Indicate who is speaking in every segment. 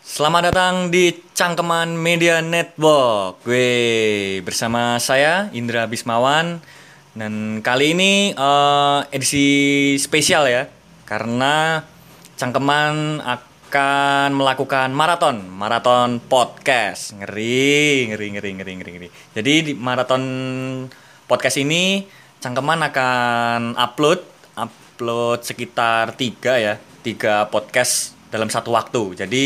Speaker 1: Selamat datang di Cangkeman Media Network. Gue bersama saya Indra Bismawan dan kali ini eh, edisi spesial ya karena Cangkeman akan melakukan maraton, maraton podcast. Ngeri, ngeri, ngeri, ngeri, ngeri. ngeri. Jadi di maraton podcast ini Cangkeman akan upload upload sekitar tiga ya, tiga podcast dalam satu waktu. Jadi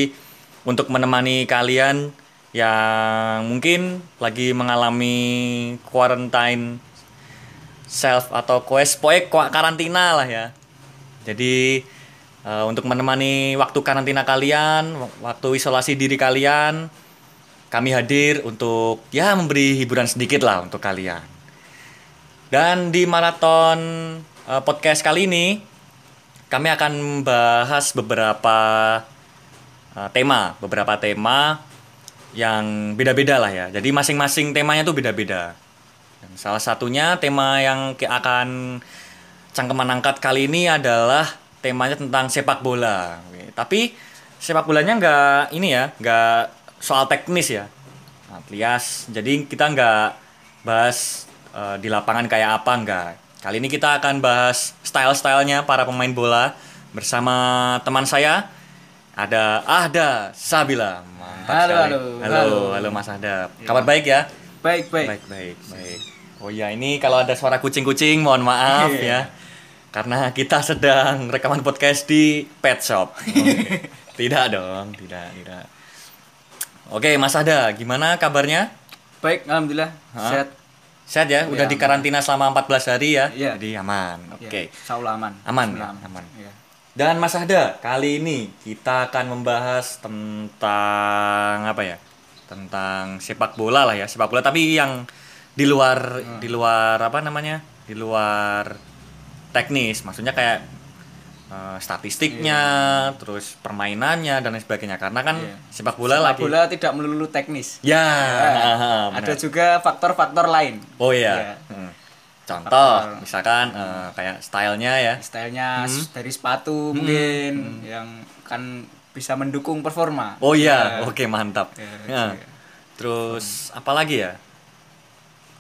Speaker 1: untuk menemani kalian yang mungkin lagi mengalami quarantine self atau quest poe kwa- karantina lah ya. Jadi eh, untuk menemani waktu karantina kalian, w- waktu isolasi diri kalian, kami hadir untuk ya memberi hiburan sedikit lah untuk kalian. Dan di maraton eh, podcast kali ini kami akan membahas beberapa eh, tema, beberapa tema yang beda-beda lah ya. Jadi masing-masing temanya tuh beda-beda. Dan salah satunya tema yang ki- akan cangkeman angkat kali ini adalah temanya tentang sepak bola. Oke, Tapi sepak bolanya nggak ini ya, nggak soal teknis ya. Alias jadi kita nggak bahas eh, di lapangan kayak apa nggak. Kali ini kita akan bahas style-stylenya para pemain bola bersama teman saya ada Ahda Sabila. Mantap
Speaker 2: Halo,
Speaker 1: sekali.
Speaker 2: halo,
Speaker 1: halo,
Speaker 2: halo. Iya.
Speaker 1: halo Mas Ahda. Kabar baik ya?
Speaker 2: Baik, baik.
Speaker 1: baik baik baik oh ya ini kalau ada suara kucing-kucing mohon maaf
Speaker 2: Iya.
Speaker 1: ya karena kita sedang rekaman podcast di pet shop Oke. tidak dong tidak tidak oke Mas Ada gimana kabarnya
Speaker 2: Baik, alhamdulillah. Sehat.
Speaker 1: sehat ya udah
Speaker 2: Iya,
Speaker 1: di karantina selama 14 hari ya
Speaker 2: Iya.
Speaker 1: jadi aman oke
Speaker 2: Ya, insyaallah aman.
Speaker 1: Aman,
Speaker 2: Bismillah,
Speaker 1: ya, aman.
Speaker 2: Ya.
Speaker 1: dan Mas Ada kali ini kita akan membahas tentang apa ya tentang sepak bola lah ya sepak bola tapi yang di luar
Speaker 2: Hmm.
Speaker 1: di luar apa namanya di luar teknis maksudnya kayak eh, statistiknya terus permainannya dan lain sebagainya karena kan
Speaker 2: Iya.
Speaker 1: sepak bola
Speaker 2: Sepak
Speaker 1: lagi
Speaker 2: bola tidak melulu teknis.
Speaker 1: ya nah,
Speaker 2: Ya,
Speaker 1: benar.
Speaker 2: ada juga faktor-faktor lain.
Speaker 1: oh iya
Speaker 2: Iya. Hmm.
Speaker 1: Hmm. contoh
Speaker 2: Faktor.
Speaker 1: misalkan eh, kayak stylenya ya
Speaker 2: Stylenya s- dari sepatu
Speaker 1: Hmm.
Speaker 2: mungkin yang kan bisa mendukung performa.
Speaker 1: oh iya oke mantap
Speaker 2: Ya,
Speaker 1: Ya.
Speaker 2: iya.
Speaker 1: terus apa lagi ya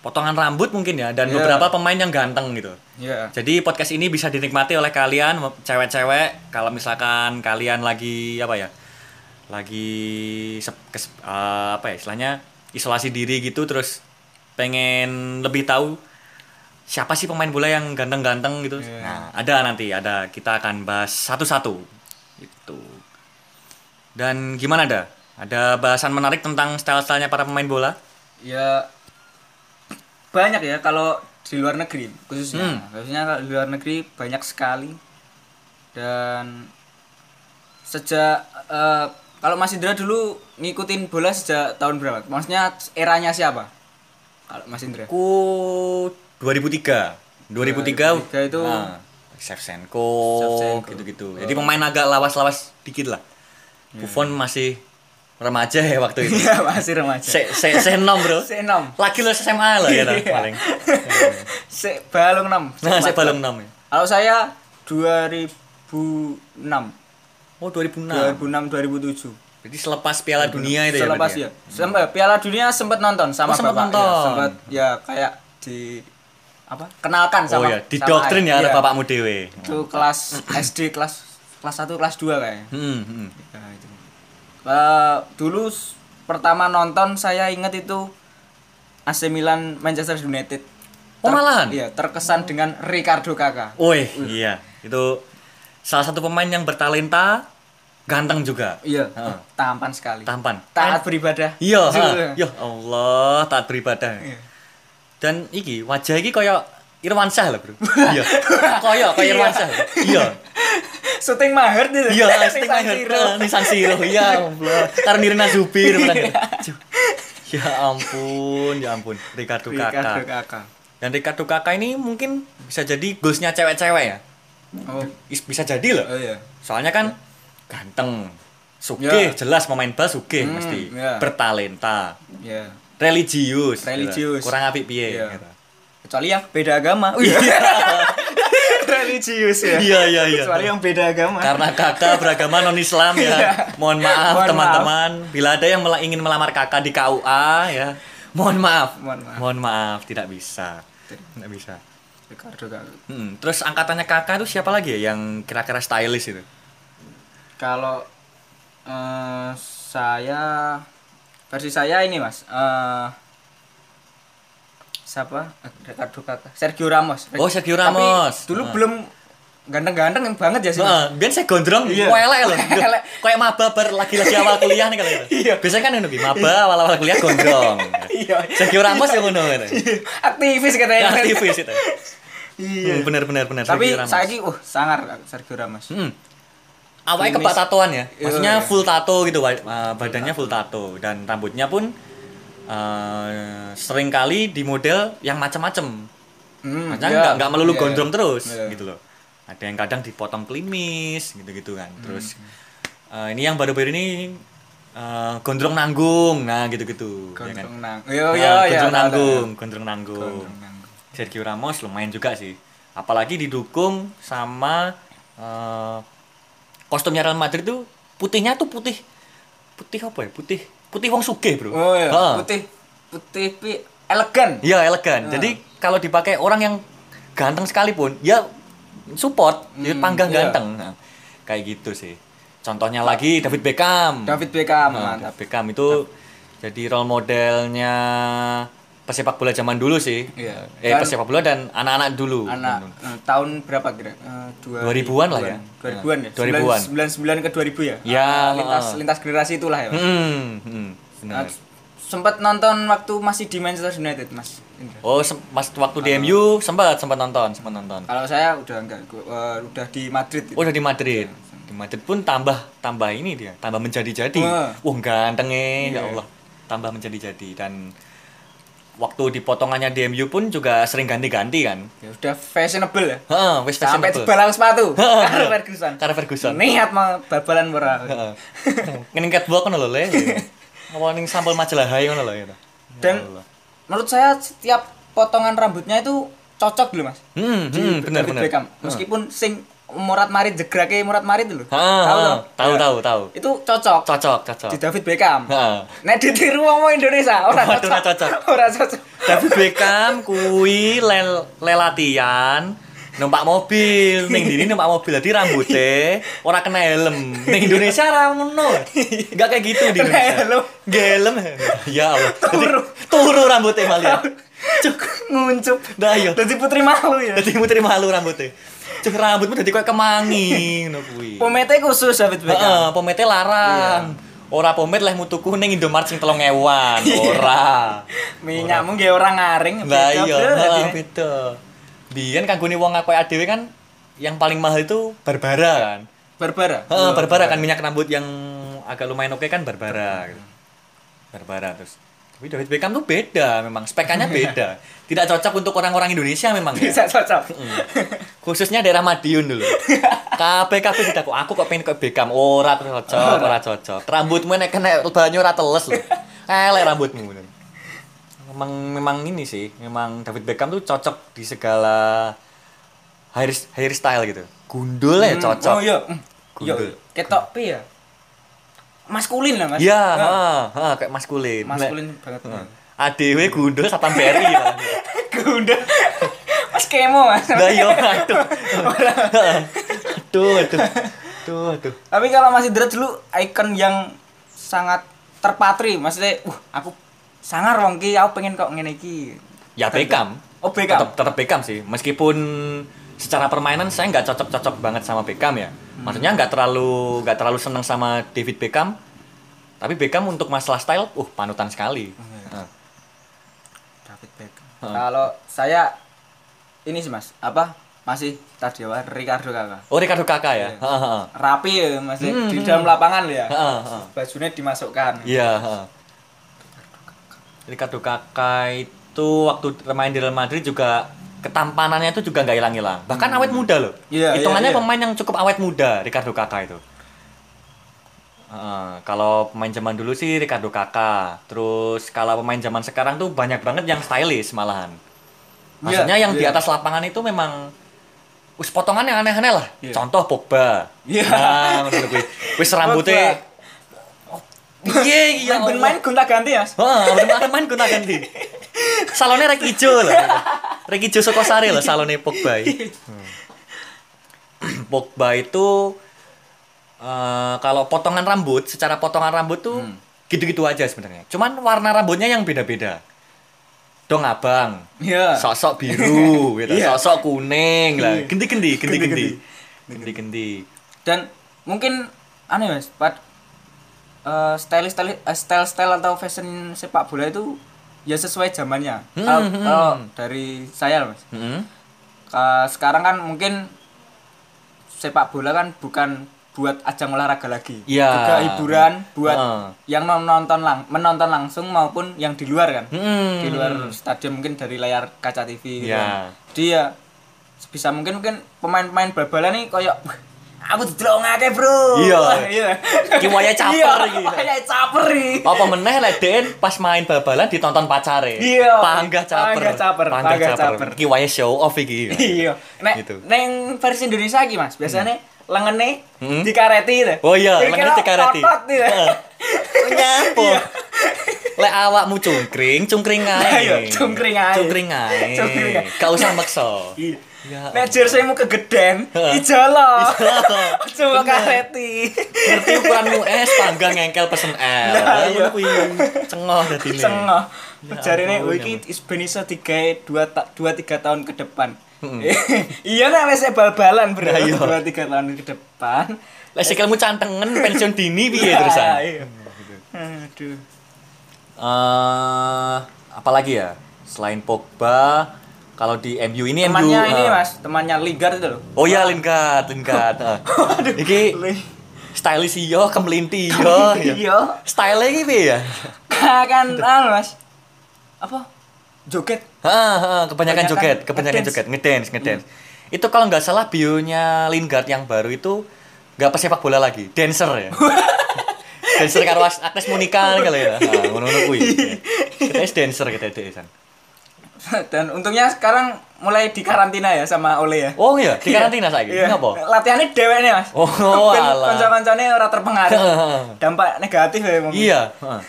Speaker 1: potongan rambut mungkin ya dan
Speaker 2: Iya.
Speaker 1: beberapa pemain yang ganteng gitu
Speaker 2: Iya.
Speaker 1: Jadi podcast ini bisa dinikmati oleh kalian cewek-cewek kalau misalkan kalian lagi apa ya? Lagi sep- kes- eh, apa ya istilahnya isolasi diri gitu terus pengen lebih tahu siapa sih pemain bola yang ganteng-ganteng gitu.
Speaker 2: Iya.
Speaker 1: Nah, ada nanti ada kita akan bahas satu-satu itu. Dan gimana ada? Ada bahasan menarik tentang style-stylenya para pemain bola?
Speaker 2: Ya banyak ya kalau di luar negeri khususnya.
Speaker 1: Hmm.
Speaker 2: Khususnya kalau di luar negeri banyak sekali. Dan sejak eh, kalau Mas Indra dulu ngikutin bola sejak tahun berapa? Maksudnya eranya siapa? Kalau Mas Indra.
Speaker 1: Aku 2003. 2003,
Speaker 2: 2003 itu-
Speaker 1: nah, Shevchenko,
Speaker 2: Shevchenko.
Speaker 1: gitu-gitu. Jadi pemain agak lawas-lawas dikit lah.
Speaker 2: Hmm.
Speaker 1: Buffon masih remaja ya waktu itu.
Speaker 2: Iya, masih remaja.
Speaker 1: Se se se nom, Bro.
Speaker 2: C6.
Speaker 1: Lagi lo SMA lah ya lah,
Speaker 2: Iya.
Speaker 1: paling.
Speaker 2: Se balung 6.
Speaker 1: Nah, saya balong 6 ya.
Speaker 2: Kalau saya 2006.
Speaker 1: Oh, 2006.
Speaker 2: 2006 2007.
Speaker 1: Jadi selepas Piala Dunia itu
Speaker 2: Selepas
Speaker 1: ya.
Speaker 2: ya. Sempat Piala Dunia sempat nonton
Speaker 1: Oh,
Speaker 2: sama
Speaker 1: sempat
Speaker 2: bapak.
Speaker 1: nonton.
Speaker 2: Ya, sempat ya kayak di apa? Kenalkan
Speaker 1: berarti ya? Oh
Speaker 2: sama
Speaker 1: ya, di
Speaker 2: sama
Speaker 1: doktrin ya
Speaker 2: ayah.
Speaker 1: oleh
Speaker 2: Iya.
Speaker 1: bapakmu dewe.
Speaker 2: Itu kelas SD kelas kelas 1 kelas 2 kayaknya.
Speaker 1: Hmm, hmm.
Speaker 2: Ya, itu. Eh, dulu s- pertama nonton saya ingat itu AC Milan Manchester United.
Speaker 1: Oh, malahan?
Speaker 2: Iya, terkesan dengan Ricardo Kakak.
Speaker 1: Woi, iya. Itu salah satu pemain yang bertalenta, ganteng juga.
Speaker 2: Iya,
Speaker 1: Heeh.
Speaker 2: tampan sekali.
Speaker 1: Tampan.
Speaker 2: Taat beribadah.
Speaker 1: Iya, ha.
Speaker 2: Zul.
Speaker 1: ya Allah, taat beribadah.
Speaker 2: Iya.
Speaker 1: Dan iki wajah iki koyo Irwan Syah lho, Bro. Iya. Koyo koyo Irwan Syah. Iya.
Speaker 2: Syuting mahir itu.
Speaker 1: Iya,
Speaker 2: Syuting
Speaker 1: Sting
Speaker 2: San
Speaker 1: Mayer.
Speaker 2: Siro.
Speaker 1: Nih San Siro, ya Allah. Karena Zubir
Speaker 2: Iya.
Speaker 1: bilang. Cuk. Ya ampun, ya ampun. Ricardo
Speaker 2: Ricardo
Speaker 1: Kakak.
Speaker 2: Kakak.
Speaker 1: Dan Ricardo Kakak ini mungkin bisa jadi goalsnya cewek-cewek ya.
Speaker 2: Oh,
Speaker 1: Is- Bisa jadi loh.
Speaker 2: oh iya.
Speaker 1: Soalnya kan ganteng, sugih,
Speaker 2: Ya.
Speaker 1: jelas pemain bal sugih
Speaker 2: Hmm,
Speaker 1: mesti,
Speaker 2: ya.
Speaker 1: bertalenta.
Speaker 2: Iya.
Speaker 1: religius
Speaker 2: Religius.
Speaker 1: gitu. kurang apik piye
Speaker 2: Iya.
Speaker 1: gitu.
Speaker 2: Kecuali yang beda agama.
Speaker 1: Iya.
Speaker 2: religius ya.
Speaker 1: Iya, iya, iya.
Speaker 2: Kecuali yang beda agama.
Speaker 1: Karena kakak beragama non Islam ya. Mohon maaf
Speaker 2: Iya. Mohon
Speaker 1: teman-teman. Bila ada yang mela- ingin melamar kakak di KUA ya. Mohon maaf.
Speaker 2: Mohon maaf.
Speaker 1: maaf, tidak bisa. Tidak bisa.
Speaker 2: Ricardo kalau-
Speaker 1: Mm-mm. Terus angkatannya kakak itu siapa lagi ya yang kira-kira stylish itu?
Speaker 2: Kalau eh, saya versi saya ini Mas. Eh siapa? Eh, Ricardo Kakak. Sergio Ramos.
Speaker 1: Oh, Sergio
Speaker 2: Tapi
Speaker 1: Ramos.
Speaker 2: dulu
Speaker 1: Ah.
Speaker 2: belum ganteng-ganteng banget ya sih. Mas?
Speaker 1: Heeh, biar saya gondrong,
Speaker 2: Iya.
Speaker 1: kok elek loh.
Speaker 2: Elek.
Speaker 1: Kayak maba bar lagi-lagi awal kuliah nih kalau itu.
Speaker 2: Iya.
Speaker 1: Biasanya kan ngono ki, maba awal-awal kuliah gondrong.
Speaker 2: Iya.
Speaker 1: Sergio Ramos yang ngono gitu.
Speaker 2: Aktivis katanya.
Speaker 1: Aktivis itu.
Speaker 2: Iya.
Speaker 1: Hmm, Bener bener bener
Speaker 2: Tapi
Speaker 1: Sergio Ramos.
Speaker 2: saya ki uh sangar Sergio Ramos.
Speaker 1: Mm. Awalnya kebak tatoan ya. Maksudnya
Speaker 2: Hmm. Iya.
Speaker 1: full tato gitu, wa- uh, badannya full tato dan rambutnya pun uh, seringkali di model yang macam-macam.
Speaker 2: Hmm,
Speaker 1: Maksudnya
Speaker 2: iya.
Speaker 1: nggak nggak melulu
Speaker 2: Iya.
Speaker 1: gondrong terus
Speaker 2: Iya.
Speaker 1: gitu loh. Ada yang kadang dipotong klimis gitu-gitu kan.
Speaker 2: Hmm.
Speaker 1: Terus eh, ini yang baru-baru ini eh, gondrong nanggung. Nah, gitu-gitu. ya kan?
Speaker 2: Gondrong nang. iya, Yo
Speaker 1: Nah,
Speaker 2: yo yo.
Speaker 1: gondrong
Speaker 2: tahu, tahu.
Speaker 1: nanggung, gondrong nanggung.
Speaker 2: Gondrong nanggung.
Speaker 1: Sergio Ramos lumayan juga sih. Apalagi didukung sama eh, kostumnya Real Madrid tuh putihnya tuh putih putih apa ya? Putih putih wong sugih, Bro.
Speaker 2: Oh iya,
Speaker 1: Heeh.
Speaker 2: putih putih pi elegan.
Speaker 1: Ah. Iya elegan. Jadi kalau dipakai orang yang ganteng sekalipun, ya support, ya panggang
Speaker 2: iya.
Speaker 1: ganteng. Nah, kayak gitu sih. Contohnya lagi David Beckham.
Speaker 2: David Beckham
Speaker 1: Nah,
Speaker 2: mantap.
Speaker 1: David Beckham itu jadi role modelnya pesepak bola zaman dulu sih.
Speaker 2: Iya.
Speaker 1: Eh
Speaker 2: Dan-
Speaker 1: pesepak bola dan anak-anak dulu.
Speaker 2: Anak eh, tahun berapa kira? Eh,
Speaker 1: 2000-an lah ya.
Speaker 2: 2000-an ya.
Speaker 1: 2000-an.
Speaker 2: 99 ke 2000 ya.
Speaker 1: Ya,
Speaker 2: Ah, lintas
Speaker 1: heeh.
Speaker 2: lintas generasi itulah ya. Mas.
Speaker 1: Hmm, hmm, benar.
Speaker 2: Nah, sempat nonton waktu masih di Manchester United, Mas. Indra.
Speaker 1: Oh, sem- pas waktu di MU sempat sempat nonton, sempat nonton.
Speaker 2: Kalau saya udah enggak gua- eh, udah di Madrid. gitu.
Speaker 1: Oh, udah di Madrid. Di Madrid pun tambah tambah ini dia, tambah menjadi-jadi.
Speaker 2: Wah. Iya.
Speaker 1: Wah, ganteng eh, ya Allah. Tambah menjadi-jadi dan waktu di potongannya DMU pun juga sering ganti-ganti kan.
Speaker 2: Ya, udah fashionable ya.
Speaker 1: Heeh, wis
Speaker 2: Sampai
Speaker 1: fashionable.
Speaker 2: jebalang sepatu.
Speaker 1: Heeh,
Speaker 2: Karo
Speaker 1: bener.
Speaker 2: Ferguson.
Speaker 1: Karo Ferguson.
Speaker 2: Niat mau babalan ora.
Speaker 1: Heeh. Ngene catwalk ngono lho, Le. Apa ning sampel majalah Hai ngono lho ya.
Speaker 2: Dan menurut saya setiap potongan rambutnya itu cocok dulu mas.
Speaker 1: Hmm,
Speaker 2: Di
Speaker 1: hmm,
Speaker 2: David
Speaker 1: benar benar.
Speaker 2: Beckham. Meskipun sing Murat Marit jegrake Murat Marit dulu.
Speaker 1: Heeh,
Speaker 2: Tahu
Speaker 1: heeh.
Speaker 2: toh?
Speaker 1: Ah, Tahu
Speaker 2: Ya.
Speaker 1: tahu tahu.
Speaker 2: Itu cocok.
Speaker 1: Cocok, cocok.
Speaker 2: Di David Beckham.
Speaker 1: Heeh.
Speaker 2: Nek ditiru wong Indonesia ora
Speaker 1: Waduh,
Speaker 2: cocok.
Speaker 1: ora cocok.
Speaker 2: Ora cocok.
Speaker 1: David Beckham kui lel lelatian numpak mobil ning dini numpak mobil jadi rambutnya ora kena helm ning Indonesia ra ngono enggak kayak gitu di
Speaker 2: Kena
Speaker 1: Indonesia
Speaker 2: helm.
Speaker 1: Nggak helm ya Allah Jadi
Speaker 2: Turu.
Speaker 1: turu rambutnya malah cuk
Speaker 2: Nguncup.
Speaker 1: dah yo
Speaker 2: Dadi putri malu ya.
Speaker 1: dadi muteri malu rambutnya cuk rambutmu dadi koyo kemangi ngono kuwi
Speaker 2: Pomete khusus David
Speaker 1: Ah,
Speaker 2: Beckham.
Speaker 1: Heeh, pomete larang ora pomet leh mutuku ning Indomart sing 3000an ora
Speaker 2: Minyakmu nggih ora ngaring.
Speaker 1: Lah
Speaker 2: beda
Speaker 1: iya,
Speaker 2: bener
Speaker 1: heeh,
Speaker 2: dadine.
Speaker 1: beda. Biyen kanggone wong ngakoe adewe kan yang paling mahal itu Barbara kan.
Speaker 2: Barbara.
Speaker 1: Heeh, Barbara kan minyak rambut yang agak lumayan oke kan Barbara. gitu. Barbara terus. Tapi David Beckham tuh beda memang, spekannya beda. Tidak cocok untuk orang-orang Indonesia memang ya.
Speaker 2: Bisa cocok.
Speaker 1: Hmm. Khususnya daerah Madiun dulu. Kabeh kabeh tidak kok aku kok pengen kok Beckham. Ora cocok, ora cocok. Rambutmu nek kena banyu ora teles lho. Elek rambutmu. Memang memang ini sih, memang David Beckham tuh cocok di segala hair hairstyle gitu. Gundul ya
Speaker 2: Hmm,
Speaker 1: cocok.
Speaker 2: Oh iya. Yo,
Speaker 1: Gundul.
Speaker 2: ketok pi ya. Maskulin lah, Mas.
Speaker 1: Iya, Nah.
Speaker 2: Nah,
Speaker 1: heeh, heeh, kayak maskulin. eh,
Speaker 2: maskulin banget.
Speaker 1: ADW gundul satpam BRI malah.
Speaker 2: Gundul. Mas kemo, Mas.
Speaker 1: Lah iya, aduh. Aduh, aduh. Aduh, aduh.
Speaker 2: Tapi kalau masih Dred dulu ikon yang sangat terpatri, maksudnya uh, aku sangar wong ki, aku pengen kok ngene iki.
Speaker 1: Ya Beckham.
Speaker 2: Oh, Beckham.
Speaker 1: Tetap, tetap Beckham sih. Meskipun secara permainan saya nggak cocok-cocok banget sama Beckham ya. Maksudnya nggak terlalu nggak terlalu seneng sama David Beckham. Tapi Beckham untuk masalah style, uh panutan sekali. Nah,
Speaker 2: David Beckham. Kalau saya ini sih, Mas. Apa? Masih tadi apa? Ricardo Kakak.
Speaker 1: Oh Ricardo Kakak ya. Heeh,
Speaker 2: Rapi ya, Mas. Di dalam lapangan lho ya.
Speaker 1: Hmm. heeh, heeh.
Speaker 2: Bajunya dimasukkan.
Speaker 1: Iya. heeh. Ricardo Kakak itu waktu main di Real Madrid juga ketampanannya itu juga nggak hilang-hilang. Bahkan awet muda loh.
Speaker 2: Hmm. Iya, iya,
Speaker 1: Hitungannya
Speaker 2: iya.
Speaker 1: pemain yang cukup awet muda Ricardo Kakak itu. Heeh, kalau pemain zaman dulu sih Ricardo Kakak. Terus kalau pemain zaman sekarang tuh banyak banget yang stylish malahan. Maksudnya
Speaker 2: Iya,
Speaker 1: yang di
Speaker 2: iya.
Speaker 1: atas lapangan itu memang wis potongan yang aneh-aneh lah.
Speaker 2: Iya.
Speaker 1: Contoh Pogba.
Speaker 2: Iya.
Speaker 1: Nah, ngono kuwi. Wis rambutnya Piye iki ya
Speaker 2: main,
Speaker 1: Allah.
Speaker 2: main gonta ganti ya
Speaker 1: Heeh, ben main main gonta ganti. Salone rek ijo lho. Rek ijo saka sare lho salone Pogba. iki. Hmm. Pogba itu eh, kalau potongan rambut, secara potongan rambut tuh
Speaker 2: Hmm.
Speaker 1: gitu-gitu aja sebenarnya. Cuman warna rambutnya yang beda-beda. Dong abang,
Speaker 2: Iya.
Speaker 1: sosok biru, gitu.
Speaker 2: Iya.
Speaker 1: sosok kuning lah,
Speaker 2: Iya.
Speaker 1: genti-genti,
Speaker 2: Genti-genti.
Speaker 1: genti-genti, genti-genti.
Speaker 2: dan mungkin aneh mas pad eh, style style eh, style style atau fashion sepak bola itu ya sesuai zamannya Kalau-
Speaker 1: hmm,
Speaker 2: kalau dari saya mas
Speaker 1: Mm-mm.
Speaker 2: Ka- sekarang kan mungkin sepak bola kan bukan buat ajang olahraga lagi
Speaker 1: Iya.
Speaker 2: juga hiburan buat
Speaker 1: Heeh.
Speaker 2: yang menonton lang menonton langsung maupun yang di luar kan
Speaker 1: Mm-mm.
Speaker 2: di luar stadion mungkin dari layar kaca TV
Speaker 1: Hmm.
Speaker 2: gitu
Speaker 1: Iya.
Speaker 2: kan. Jadi ya sebisa mungkin mungkin pemain-pemain bal-balan nih koyo aku didelokake, Bro.
Speaker 1: Iya.
Speaker 2: Iya.
Speaker 1: Iki wayah caper
Speaker 2: Iya,
Speaker 1: iki.
Speaker 2: wayah caper iki.
Speaker 1: apa meneh lek Den pas main bal-balan ditonton pacare.
Speaker 2: Iya.
Speaker 1: Panggah caper.
Speaker 2: Panggah caper,
Speaker 1: Panggah
Speaker 2: panggah
Speaker 1: caper.
Speaker 2: caper.
Speaker 1: Iki wae show off iki.
Speaker 2: Iya. Nek
Speaker 1: Gitu.
Speaker 2: neng versi Indonesia iki Mas, biasanya lengene
Speaker 1: Hmm.
Speaker 2: dikareti gitu.
Speaker 1: Oh iya,
Speaker 2: Jadi
Speaker 1: lengene
Speaker 2: kalau
Speaker 1: dikareti.
Speaker 2: otot gitu.
Speaker 1: Heeh. Nyapo.
Speaker 2: Iya.
Speaker 1: Lek awakmu cungkring, cungkring ae.
Speaker 2: Ayo, iya, cungkring ae.
Speaker 1: Cungkring ae.
Speaker 2: Cungkring ae.
Speaker 1: Gak usah maksa.
Speaker 2: Iya.
Speaker 1: Ya
Speaker 2: Nek jerseymu kegeden,
Speaker 1: Heeh.
Speaker 2: ijolo.
Speaker 1: Ijolo.
Speaker 2: Cuma
Speaker 1: Bener.
Speaker 2: kareti.
Speaker 1: ngerti ukuranmu S, panggang ngengkel pesen L.
Speaker 2: Lah,
Speaker 1: Lah
Speaker 2: iya.
Speaker 1: ngono kuwi cengoh dadine.
Speaker 2: Cengoh.
Speaker 1: Ya
Speaker 2: Jarine
Speaker 1: ampun,
Speaker 2: oh, iki ben iso digawe 2 ta 2 3 tahun ke depan. Iya nek wis bal-balan bro.
Speaker 1: Nah, Hmm. iya.
Speaker 2: 2 3 tahun ke depan.
Speaker 1: Lek sikilmu cantengen pensiun dini piye
Speaker 2: Ya,
Speaker 1: terusan? gitu.
Speaker 2: iya. Aduh.
Speaker 1: eh apalagi ya selain Pogba kalau di MU ini
Speaker 2: Temannya
Speaker 1: MU
Speaker 2: ini
Speaker 1: eh,
Speaker 2: Mas, temannya Lingard itu loh.
Speaker 1: oh ya Lingard Lingard eh. iki Ah,
Speaker 2: Li-
Speaker 1: stylish yo kemelinti yo
Speaker 2: Iya.
Speaker 1: style iki piye ya
Speaker 2: kan anu Mas. Apa? Joget.
Speaker 1: Heeh, heeh, kebanyakan
Speaker 2: Kebanyakan
Speaker 1: joget kebanyakan
Speaker 2: ngedance. Hmm.
Speaker 1: joget ngedance ngedance itu kalau nggak salah bionya Lingard yang baru itu nggak pesepak bola lagi dancer ya dancer karo As- Agnes Monica kalau ya Ah, ngono-ngono kuwi
Speaker 2: Iya.
Speaker 1: kita is dancer kita desan
Speaker 2: Dan untungnya sekarang mulai dikarantina ya sama Ole ya.
Speaker 1: oh iya di karantina saiki
Speaker 2: Iya.
Speaker 1: ngapa
Speaker 2: Latihannya dewek nih mas.
Speaker 1: Oh, alah.
Speaker 2: Kanca-kancane ora terpengaruh.
Speaker 1: Heeh.
Speaker 2: Dampak negatif ya mungkin.
Speaker 1: Iya. heeh.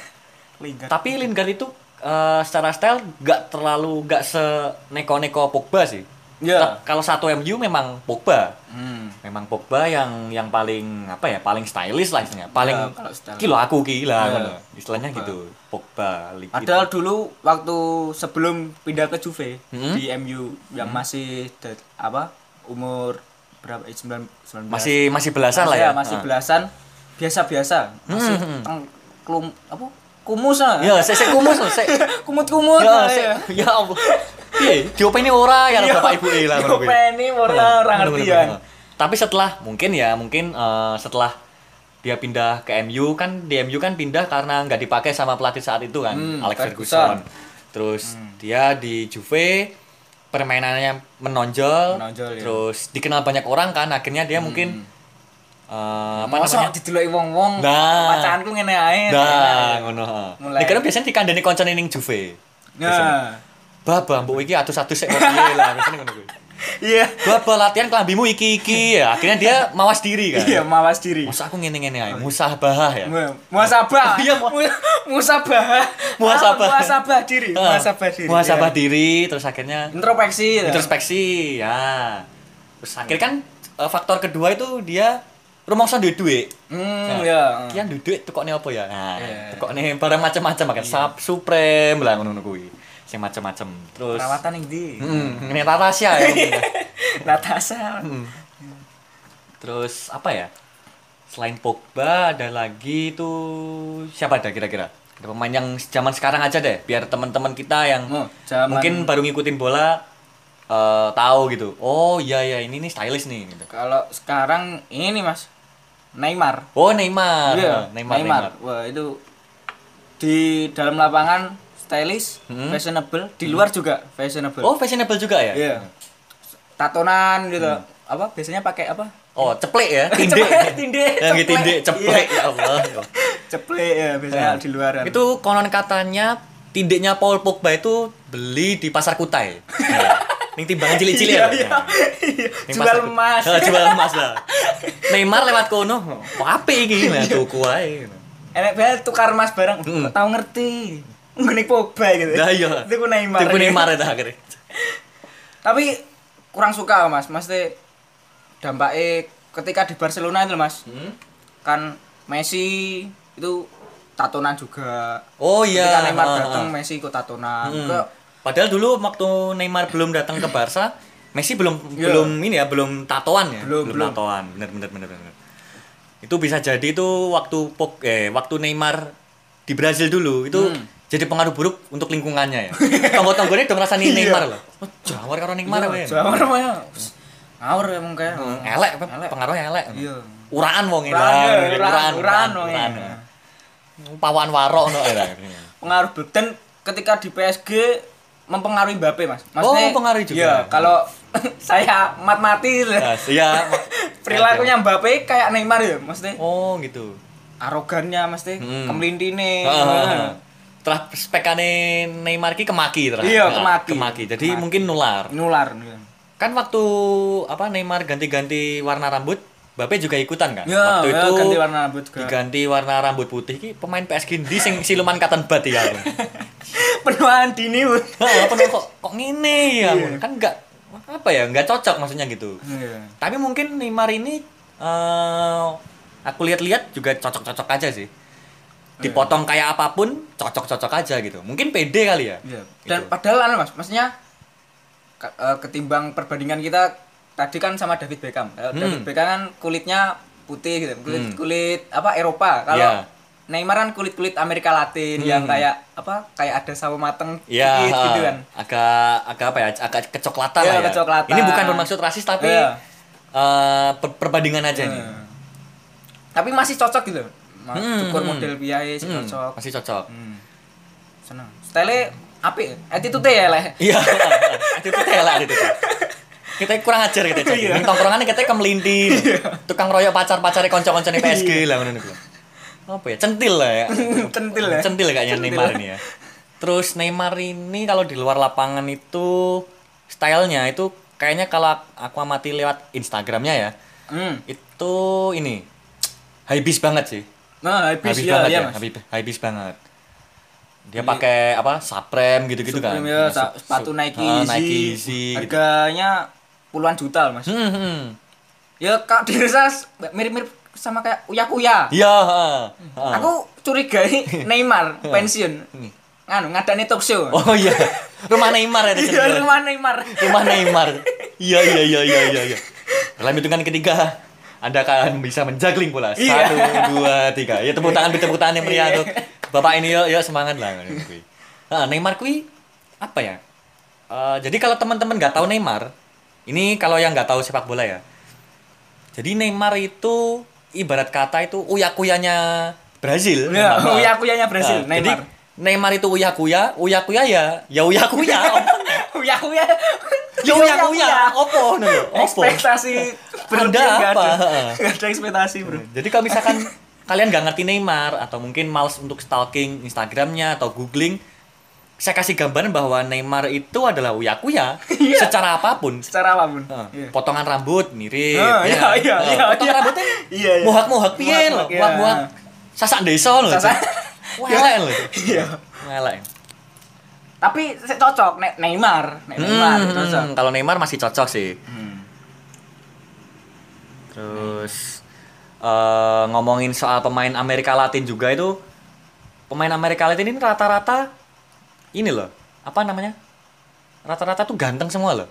Speaker 2: Lingkar.
Speaker 1: Tapi Lingard itu eh, secara style nggak terlalu nggak se neko-neko Pogba sih. Nah,
Speaker 2: Iya.
Speaker 1: Kalau satu MU memang Pogba.
Speaker 2: Hmm.
Speaker 1: Memang Pogba yang yang paling apa ya paling stylish lah istilahnya. Paling
Speaker 2: Iya, kalau style.
Speaker 1: kilo aku gila
Speaker 2: Iya.
Speaker 1: ngono. Istilahnya gitu. Pogba. Li-
Speaker 2: Padahal
Speaker 1: gitu.
Speaker 2: dulu waktu sebelum pindah ke Juve
Speaker 1: Hmm.
Speaker 2: di MU yang masih de- apa umur berapa? Eh, 9 19.
Speaker 1: masih masih belasan lah
Speaker 2: Iya,
Speaker 1: ya.
Speaker 2: masih
Speaker 1: Heeh.
Speaker 2: belasan. Biasa-biasa. Masih
Speaker 1: Hmm, hmm.
Speaker 2: teng- klum apa? Kumus lah.
Speaker 1: Ya, saya saya kumus loh, saya
Speaker 2: Kumut-kumut.
Speaker 1: ya,
Speaker 2: lah,
Speaker 1: saya,
Speaker 2: iya.
Speaker 1: ya Allah. Iya, diopeni ora ya
Speaker 2: Iya.
Speaker 1: bapak ibu lah ngono kuwi.
Speaker 2: Diopeni ora, ya.
Speaker 1: Heeh,
Speaker 2: ora
Speaker 1: bener-bener,
Speaker 2: ngertian.
Speaker 1: bener-bener. Tapi setelah mungkin ya, mungkin eh, setelah dia pindah ke MU kan di MU kan pindah karena nggak dipakai sama pelatih saat itu kan,
Speaker 2: Hmm,
Speaker 1: Alex Ferguson.
Speaker 2: Ferguson. Hmm.
Speaker 1: Terus dia di Juve permainannya menonjol,
Speaker 2: Menonjol, Hmm. ya.
Speaker 1: terus dikenal banyak orang kan, akhirnya dia mungkin eh, apa namanya?
Speaker 2: Masa dideloki wong-wong.
Speaker 1: Nah.
Speaker 2: Pacanku ngene ae.
Speaker 1: Nah, ngono. heeh.
Speaker 2: Iya, Mulai.
Speaker 1: Nek kan biasanya dikandani koncone ning Juve. Biasanya.
Speaker 2: Nah.
Speaker 1: Baba mbok iki atus-atus sik kok piye lah biasanya ngono kuwi.
Speaker 2: Iya.
Speaker 1: Baba latihan kelambimu iki iki ya. Akhirnya dia mawas diri kan.
Speaker 2: Iya, mawas diri.
Speaker 1: Masa aku ngene-ngene ae, musabahah ya.
Speaker 2: Mu- Muasabah.
Speaker 1: Oh, iya, mu-
Speaker 2: Mu- muasabah.
Speaker 1: Muasabah. Ah.
Speaker 2: Ah, Muasabah diri.
Speaker 1: Heeh.
Speaker 2: Muasabah diri.
Speaker 1: Muhasabah
Speaker 2: Iya.
Speaker 1: diri terus akhirnya
Speaker 2: Introspeksi. ya.
Speaker 1: introspeksi ya. Terus akhirnya kan eh, faktor kedua itu dia rumangsa duwe duit. Nah,
Speaker 2: Hmm, ya.
Speaker 1: Ki yang duduk tukokne apa ya? Nah,
Speaker 2: Iya.
Speaker 1: tukokne barang macam-macam kan. Sub Supreme lah ngono kuwi. Sing macam-macam. Terus Hmm.
Speaker 2: Perawatan yang di.
Speaker 1: Heeh, ngene Tatasya ya. mungkin.
Speaker 2: Natasha.
Speaker 1: Hmm. Terus apa ya? Selain Pogba ada lagi itu siapa ada kira-kira? Ada pemain yang zaman sekarang aja deh, biar teman-teman kita yang
Speaker 2: Oh, zaman-
Speaker 1: mungkin baru ngikutin bola eh, tahu gitu. Oh iya ya ini nih stylish nih gitu.
Speaker 2: Kalau sekarang ini Mas Neymar.
Speaker 1: Oh Neymar.
Speaker 2: Iya,
Speaker 1: Neymar, Neymar.
Speaker 2: Wah, itu di dalam lapangan stylish, fashionable, di luar juga fashionable.
Speaker 1: Hmm. Oh fashionable juga ya?
Speaker 2: Iya. Tatonan gitu.
Speaker 1: Hmm.
Speaker 2: Apa biasanya pakai apa?
Speaker 1: Oh ceplek ya, tinde.
Speaker 2: Ceplek, tinde,
Speaker 1: Ya, nggih, tinde,
Speaker 2: ceplek.
Speaker 1: ceplek ya Allah. ya Allah.
Speaker 2: Ceplek ya biasanya di luar. kan.
Speaker 1: Nah. Itu konon katanya tindeknya Paul Pogba itu beli di pasar Kutai. Ya. Ning timbangan cilik-cilik ya.
Speaker 2: Iya, iya.
Speaker 1: Ning
Speaker 2: Jual
Speaker 1: pasar-
Speaker 2: emas.
Speaker 1: Ha, Oh, jual emas lah. Neymar lewat kono, kok apik iki nah tuku ae.
Speaker 2: Enak banget tukar emas bareng.
Speaker 1: Mm.
Speaker 2: Kok Tahu ngerti. Nggone Pogba gitu.
Speaker 1: Lah iya.
Speaker 2: Itu ku Neymar.
Speaker 1: Tuku Neymar itu akhirnya.
Speaker 2: Tapi kurang suka Mas. Maksudnya dampaknya ketika di Barcelona itu Mas.
Speaker 1: Hmm?
Speaker 2: Kan Messi itu tatonan juga.
Speaker 1: Oh iya.
Speaker 2: Ketika Neymar
Speaker 1: ha, ha.
Speaker 2: datang Messi ikut tatonan.
Speaker 1: Hmm.
Speaker 2: Ke-
Speaker 1: Padahal dulu waktu Neymar belum datang ke Barca, Messi belum
Speaker 2: Iya.
Speaker 1: belum ini ya, belum tatoan ya,
Speaker 2: Belum, belum.
Speaker 1: tatoan. Bener bener bener bener. Itu bisa jadi itu waktu Pog- eh waktu Neymar di Brazil dulu itu
Speaker 2: Hmm.
Speaker 1: jadi pengaruh buruk untuk lingkungannya ya. Tonggo-tonggonya udah ngerasani
Speaker 2: Iya.
Speaker 1: Neymar loh. Oh, jawar karo Neymar wae.
Speaker 2: Jawara mah ya. Ngawur emang kayak.
Speaker 1: Elek, apa?
Speaker 2: Elek.
Speaker 1: pengaruhnya elek.
Speaker 2: Iya.
Speaker 1: Uraan wong
Speaker 2: Uraan, iya.
Speaker 1: ngene.
Speaker 2: uraan, uraan wong
Speaker 1: uraan.
Speaker 2: ngene.
Speaker 1: Pawan warok no ya.
Speaker 2: pengaruh Bep. dan ketika di PSG mempengaruhi Mbappe mas
Speaker 1: Oh, mempengaruhi juga.
Speaker 2: iya, kalau saya mat mati
Speaker 1: Nah, iya.
Speaker 2: perilakunya Mbappe kayak Neymar ya maksudnya
Speaker 1: Oh, gitu.
Speaker 2: arogannya maksudnya gitu kan.
Speaker 1: Hmm.
Speaker 2: kemelintine iya.
Speaker 1: Heeh. Terus spekane Neymar ki kemaki terus.
Speaker 2: Iya,
Speaker 1: Nah,
Speaker 2: kemaki.
Speaker 1: Kemaki. Jadi
Speaker 2: Kemaki.
Speaker 1: mungkin nular.
Speaker 2: nular iya.
Speaker 1: Kan waktu apa Neymar ganti-ganti warna rambut, Mbappe juga ikutan kan?
Speaker 2: Ya,
Speaker 1: waktu
Speaker 2: ya,
Speaker 1: itu
Speaker 2: ganti warna rambut juga.
Speaker 1: Diganti warna rambut putih ki pemain PSG ndi sing siluman katen bat ya.
Speaker 2: penuaan dini Bu.
Speaker 1: Heeh, penuh kok kok ngene ya. Kan enggak apa ya, enggak cocok maksudnya gitu.
Speaker 2: Iya.
Speaker 1: Tapi mungkin Neymar ini eh aku lihat-lihat juga cocok-cocok aja sih. Dipotong
Speaker 2: Iya.
Speaker 1: kayak apapun, cocok-cocok aja gitu. Mungkin pede kali ya.
Speaker 2: Iya. dan
Speaker 1: Gitu.
Speaker 2: padahal anu mas maksudnya ke- eh, ketimbang perbandingan kita tadi kan sama David Beckham Kalau David
Speaker 1: Hmm.
Speaker 2: Beckham kan kulitnya putih gitu kulit
Speaker 1: Hmm.
Speaker 2: kulit apa Eropa kalau
Speaker 1: Iya.
Speaker 2: Neymar kan kulit kulit Amerika Latin
Speaker 1: Hmm.
Speaker 2: yang kayak apa kayak ada sawo mateng
Speaker 1: Iya,
Speaker 2: dikit gitu kan
Speaker 1: agak agak apa ya? Agak kecoklatan
Speaker 2: Iya,
Speaker 1: lah ya.
Speaker 2: kecoklatan.
Speaker 1: Ini bukan bermaksud rasis tapi
Speaker 2: Iya.
Speaker 1: eh, per- perbandingan aja nih.
Speaker 2: Hmm. tapi masih cocok gitu Ma-
Speaker 1: Hmm,
Speaker 2: cukur
Speaker 1: hmm.
Speaker 2: model biaya sih
Speaker 1: Hmm,
Speaker 2: cocok
Speaker 1: Masih cocok.
Speaker 2: hmm. seneng style apik attitude ya leh
Speaker 1: Iya. Itu kita ya lah itu. Kita kurang ajar kita cek. Ning tongkrongan kita kemelinti. Tukang royok pacar-pacare kanca-kancane PSG lah ngono niku. Apa ya? Centil lah ya.
Speaker 2: centil ya
Speaker 1: Centil kayaknya Neymar ini ya. Terus Neymar ini kalau di luar lapangan itu stylenya itu kayaknya kalau aku amati lewat Instagramnya ya
Speaker 2: hmm.
Speaker 1: itu ini high beast banget sih
Speaker 2: nah habis,
Speaker 1: habis
Speaker 2: ya,
Speaker 1: banget
Speaker 2: ya,
Speaker 1: ya,
Speaker 2: mas
Speaker 1: habis, habis banget dia pakai apa supreme gitu-gitu kan
Speaker 2: Supreme ya,
Speaker 1: Nah,
Speaker 2: sa-
Speaker 1: su-
Speaker 2: sepatu
Speaker 1: su-
Speaker 2: Nike
Speaker 1: ah,
Speaker 2: Yeezy.
Speaker 1: Nike Yeezy gitu.
Speaker 2: Harganya puluhan juta loh, Mas.
Speaker 1: Hmm, hmm.
Speaker 2: Ya kak dirasa s- mirip-mirip sama kayak Uya Kuya.
Speaker 1: iya ha, ha.
Speaker 2: Aku curiga ini Neymar pensiun. Nganu ngadani talk
Speaker 1: Iya.
Speaker 2: show.
Speaker 1: oh iya rumah Neymar ya, ada
Speaker 2: Iya,
Speaker 1: sendiri.
Speaker 2: rumah Neymar.
Speaker 1: rumah Neymar iya iya iya iya iya iya dalam hitungan ketiga anda akan bisa menjuggling bola
Speaker 2: Iya.
Speaker 1: satu dua tiga ya tepuk tangan tepuk tangan yang meriah tuh bapak ini yuk yuk semangat lah nah, Neymar kui apa ya Eh, jadi kalau teman-teman nggak tahu Neymar ini kalau yang nggak tahu sepak bola ya jadi Neymar itu ibarat kata itu uyakuyanya Brazil
Speaker 2: Ya,
Speaker 1: Nah,
Speaker 2: Uya Kuyanya Brasil,
Speaker 1: nah, jadi
Speaker 2: Neymar.
Speaker 1: Neymar itu uyakuya uyakuya ya ya uyakuya apa?
Speaker 2: Uya Kuya.
Speaker 1: Ya,
Speaker 2: Iya,
Speaker 1: Yo yang uya, opo no, opo.
Speaker 2: Ekspektasi
Speaker 1: Anda
Speaker 2: berlebih nggak
Speaker 1: Oh,
Speaker 2: ada.
Speaker 1: apa? Iya.
Speaker 2: Nggak ada ekspektasi, Bro.
Speaker 1: Jadi kalau misalkan kalian nggak ngerti Neymar atau mungkin males untuk stalking Instagramnya atau googling, saya kasih gambaran bahwa Neymar itu adalah uyakuya
Speaker 2: Iya.
Speaker 1: secara apapun.
Speaker 2: Secara apapun.
Speaker 1: Heeh.
Speaker 2: Iya.
Speaker 1: Potongan rambut mirip.
Speaker 2: Heeh,
Speaker 1: ya.
Speaker 2: iya, iya,
Speaker 1: Heeh,
Speaker 2: iya,
Speaker 1: Potongan
Speaker 2: iya.
Speaker 1: rambutnya
Speaker 2: Iya, iya.
Speaker 1: mohak-mohak piye lho,
Speaker 2: Mohak-mohak, iya.
Speaker 1: mohak-mohak sasak desa lho.
Speaker 2: Sasak-
Speaker 1: Wah, elek lho.
Speaker 2: Iya.
Speaker 1: Elek.
Speaker 2: Tapi se- cocok Ne- Neymar, Ne- Neymar
Speaker 1: Hmm,
Speaker 2: cocok.
Speaker 1: kalau Neymar masih cocok sih.
Speaker 2: Hmm.
Speaker 1: Terus eh, ngomongin soal pemain Amerika Latin juga itu pemain Amerika Latin ini rata-rata ini loh apa namanya rata-rata tuh ganteng semua loh.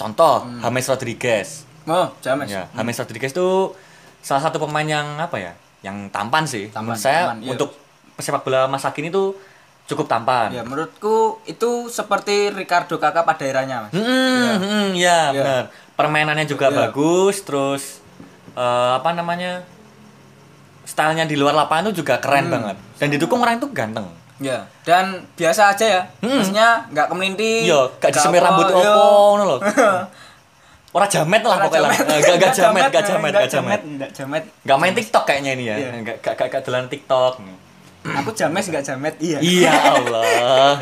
Speaker 1: Contoh
Speaker 2: Hmm.
Speaker 1: James Rodriguez.
Speaker 2: Oh, James.
Speaker 1: Ya, James Rodriguez tuh salah satu pemain yang apa ya? Yang tampan sih.
Speaker 2: Tampan,
Speaker 1: Menurut saya
Speaker 2: tampan, iya.
Speaker 1: untuk pesepak bola masa kini tuh cukup tampan.
Speaker 2: Ya menurutku itu seperti Ricardo kakak pada eranya mas.
Speaker 1: Hmm, hmm, ya benar. Permainannya juga
Speaker 2: Ya.
Speaker 1: bagus, terus eh, apa namanya? Stylenya di luar lapangan itu juga keren
Speaker 2: Hmm.
Speaker 1: banget. Dan didukung orang itu ganteng.
Speaker 2: Ya dan biasa aja ya. Maksudnya nggak kemelinti.
Speaker 1: Yo, Hmm. Iya, gak disemir rambut
Speaker 2: apa, iya.
Speaker 1: opo
Speaker 2: yo.
Speaker 1: ngono lho. Orang jamet lah pokoknya lah. Eh, Gak gak jamet, gak jamet, gak jamet.
Speaker 2: Nggak eh, jamet.
Speaker 1: Gak main TikTok kayaknya ini ya.
Speaker 2: Iya.
Speaker 1: Gak gak gak, gak dolan TikTok.
Speaker 2: Aku james nggak jamet iya.
Speaker 1: Iya Allah.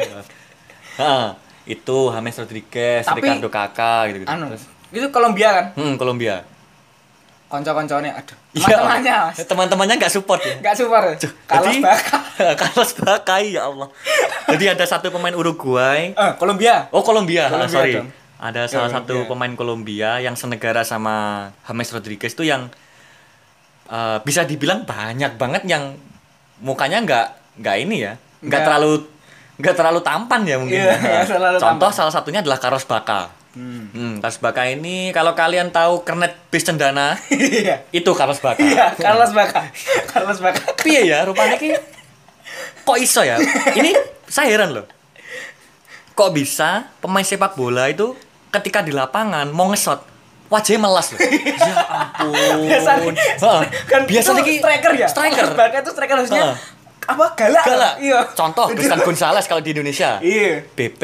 Speaker 1: Heeh. itu James Rodriguez,
Speaker 2: Tapi-
Speaker 1: Ricardo Kakak gitu gitu.
Speaker 2: Anu, itu Kolombia kan?
Speaker 1: Hmm, Kolombia.
Speaker 2: Konco-konconnya, aduh.
Speaker 1: Iya.
Speaker 2: Teman-temannya, Mas.
Speaker 1: Teman-temannya nggak support ya.
Speaker 2: Enggak super. Kalau
Speaker 1: Jadi-
Speaker 2: bakal
Speaker 1: Carlos Bacai ya Allah. Jadi ada satu pemain Uruguay.
Speaker 2: eh Kolombia.
Speaker 1: Oh Kolombia,
Speaker 2: Kolombia
Speaker 1: sorry.
Speaker 2: dong.
Speaker 1: Ada salah
Speaker 2: Kolombia.
Speaker 1: satu pemain Kolombia yang senegara sama James Rodriguez tuh yang eh, bisa dibilang banyak banget yang mukanya nggak nggak ini ya, nggak
Speaker 2: Nggak.
Speaker 1: terlalu nggak terlalu tampan ya mungkin.
Speaker 2: Iya,
Speaker 1: ya.
Speaker 2: nggak terlalu
Speaker 1: Contoh
Speaker 2: tampan.
Speaker 1: salah satunya adalah Carlos Bacca.
Speaker 2: Hmm.
Speaker 1: Hmm, Carlos Bacca ini kalau kalian tahu kernet bis cendana
Speaker 2: Iya.
Speaker 1: itu Carlos Bacca.
Speaker 2: Iya, Carlos Bacca. Carlos Bacca.
Speaker 1: Piye ya rupanya ki kok iso ya? Ini saya heran loh. Kok bisa pemain sepak bola itu ketika di lapangan mau ngesot wajahnya melas loh. ya ampun.
Speaker 2: Biasanya-
Speaker 1: Heeh.
Speaker 2: Kan
Speaker 1: biasanya
Speaker 2: itu
Speaker 1: ki
Speaker 2: striker ya?
Speaker 1: Striker.
Speaker 2: Carlos Bacca itu striker harusnya
Speaker 1: Heeh.
Speaker 2: apa galak.
Speaker 1: Galak.
Speaker 2: Iya.
Speaker 1: Contoh Cristian Gonzalez kalau di Indonesia.
Speaker 2: Iya.
Speaker 1: BP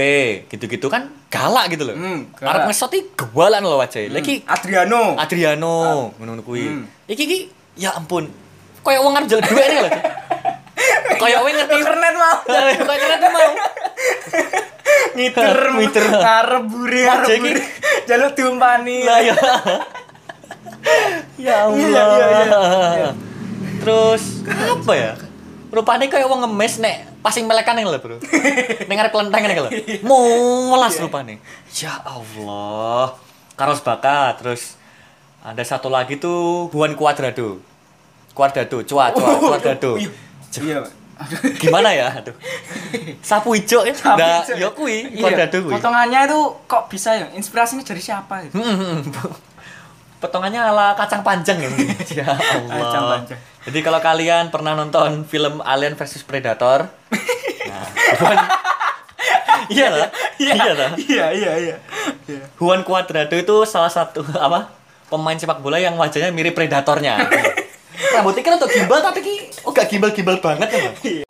Speaker 1: gitu-gitu kan galak gitu loh.
Speaker 2: Hmm, galak.
Speaker 1: Arab ngesot iki gewalan loh wajahnya. Lagi
Speaker 2: Adriano.
Speaker 1: Adriano ngono kuwi.
Speaker 2: Hmm.
Speaker 1: Iki iki ya ampun. Kayak wong arep jalan duwe lho. Kayak wong ngerti
Speaker 2: Kernet mau.
Speaker 1: Kayak keren tuh mau.
Speaker 2: ngiter
Speaker 1: Ngiter.
Speaker 2: ngarep buri ngarep
Speaker 1: Jadi-
Speaker 2: buri jaluk diumpani
Speaker 1: Lah ya. Ya
Speaker 2: Iya, iya, iya, iya.
Speaker 1: Allah. Terus apa ya? Rupanya kayak wong ngemes nek pasing melekan yang lho, Bro. Ning arep kelenteng ngene lho. Molas rupanya. Ya Allah. Carlos Bacca terus ada satu lagi tuh Juan Cuadrado. Cuadrado, cua, cua, Cuadrado.
Speaker 2: Iya. iya Pak. Aduh,
Speaker 1: Gimana ya? Aduh. Sapu ijo ya.
Speaker 2: tapi
Speaker 1: Nah,
Speaker 2: cek.
Speaker 1: ya kuwi
Speaker 2: Iya,
Speaker 1: Cuadrado kuwi.
Speaker 2: potongannya itu kok bisa ya inspirasinya dari siapa ya?
Speaker 1: Hmm, Potongannya ala kacang panjang ya. ya Allah.
Speaker 2: Kacang panjang.
Speaker 1: Jadi kalau kalian pernah nonton film Alien versus Predator, nah, Juan, iya lah, iya lah.
Speaker 2: iya iya iya Iya.
Speaker 1: Juan Cuadrado itu salah satu apa pemain sepak bola yang wajahnya mirip predatornya. Rambutnya kan untuk gimbal tapi ki oh gak gimbal-gimbal banget ya, Bang.
Speaker 2: Iya.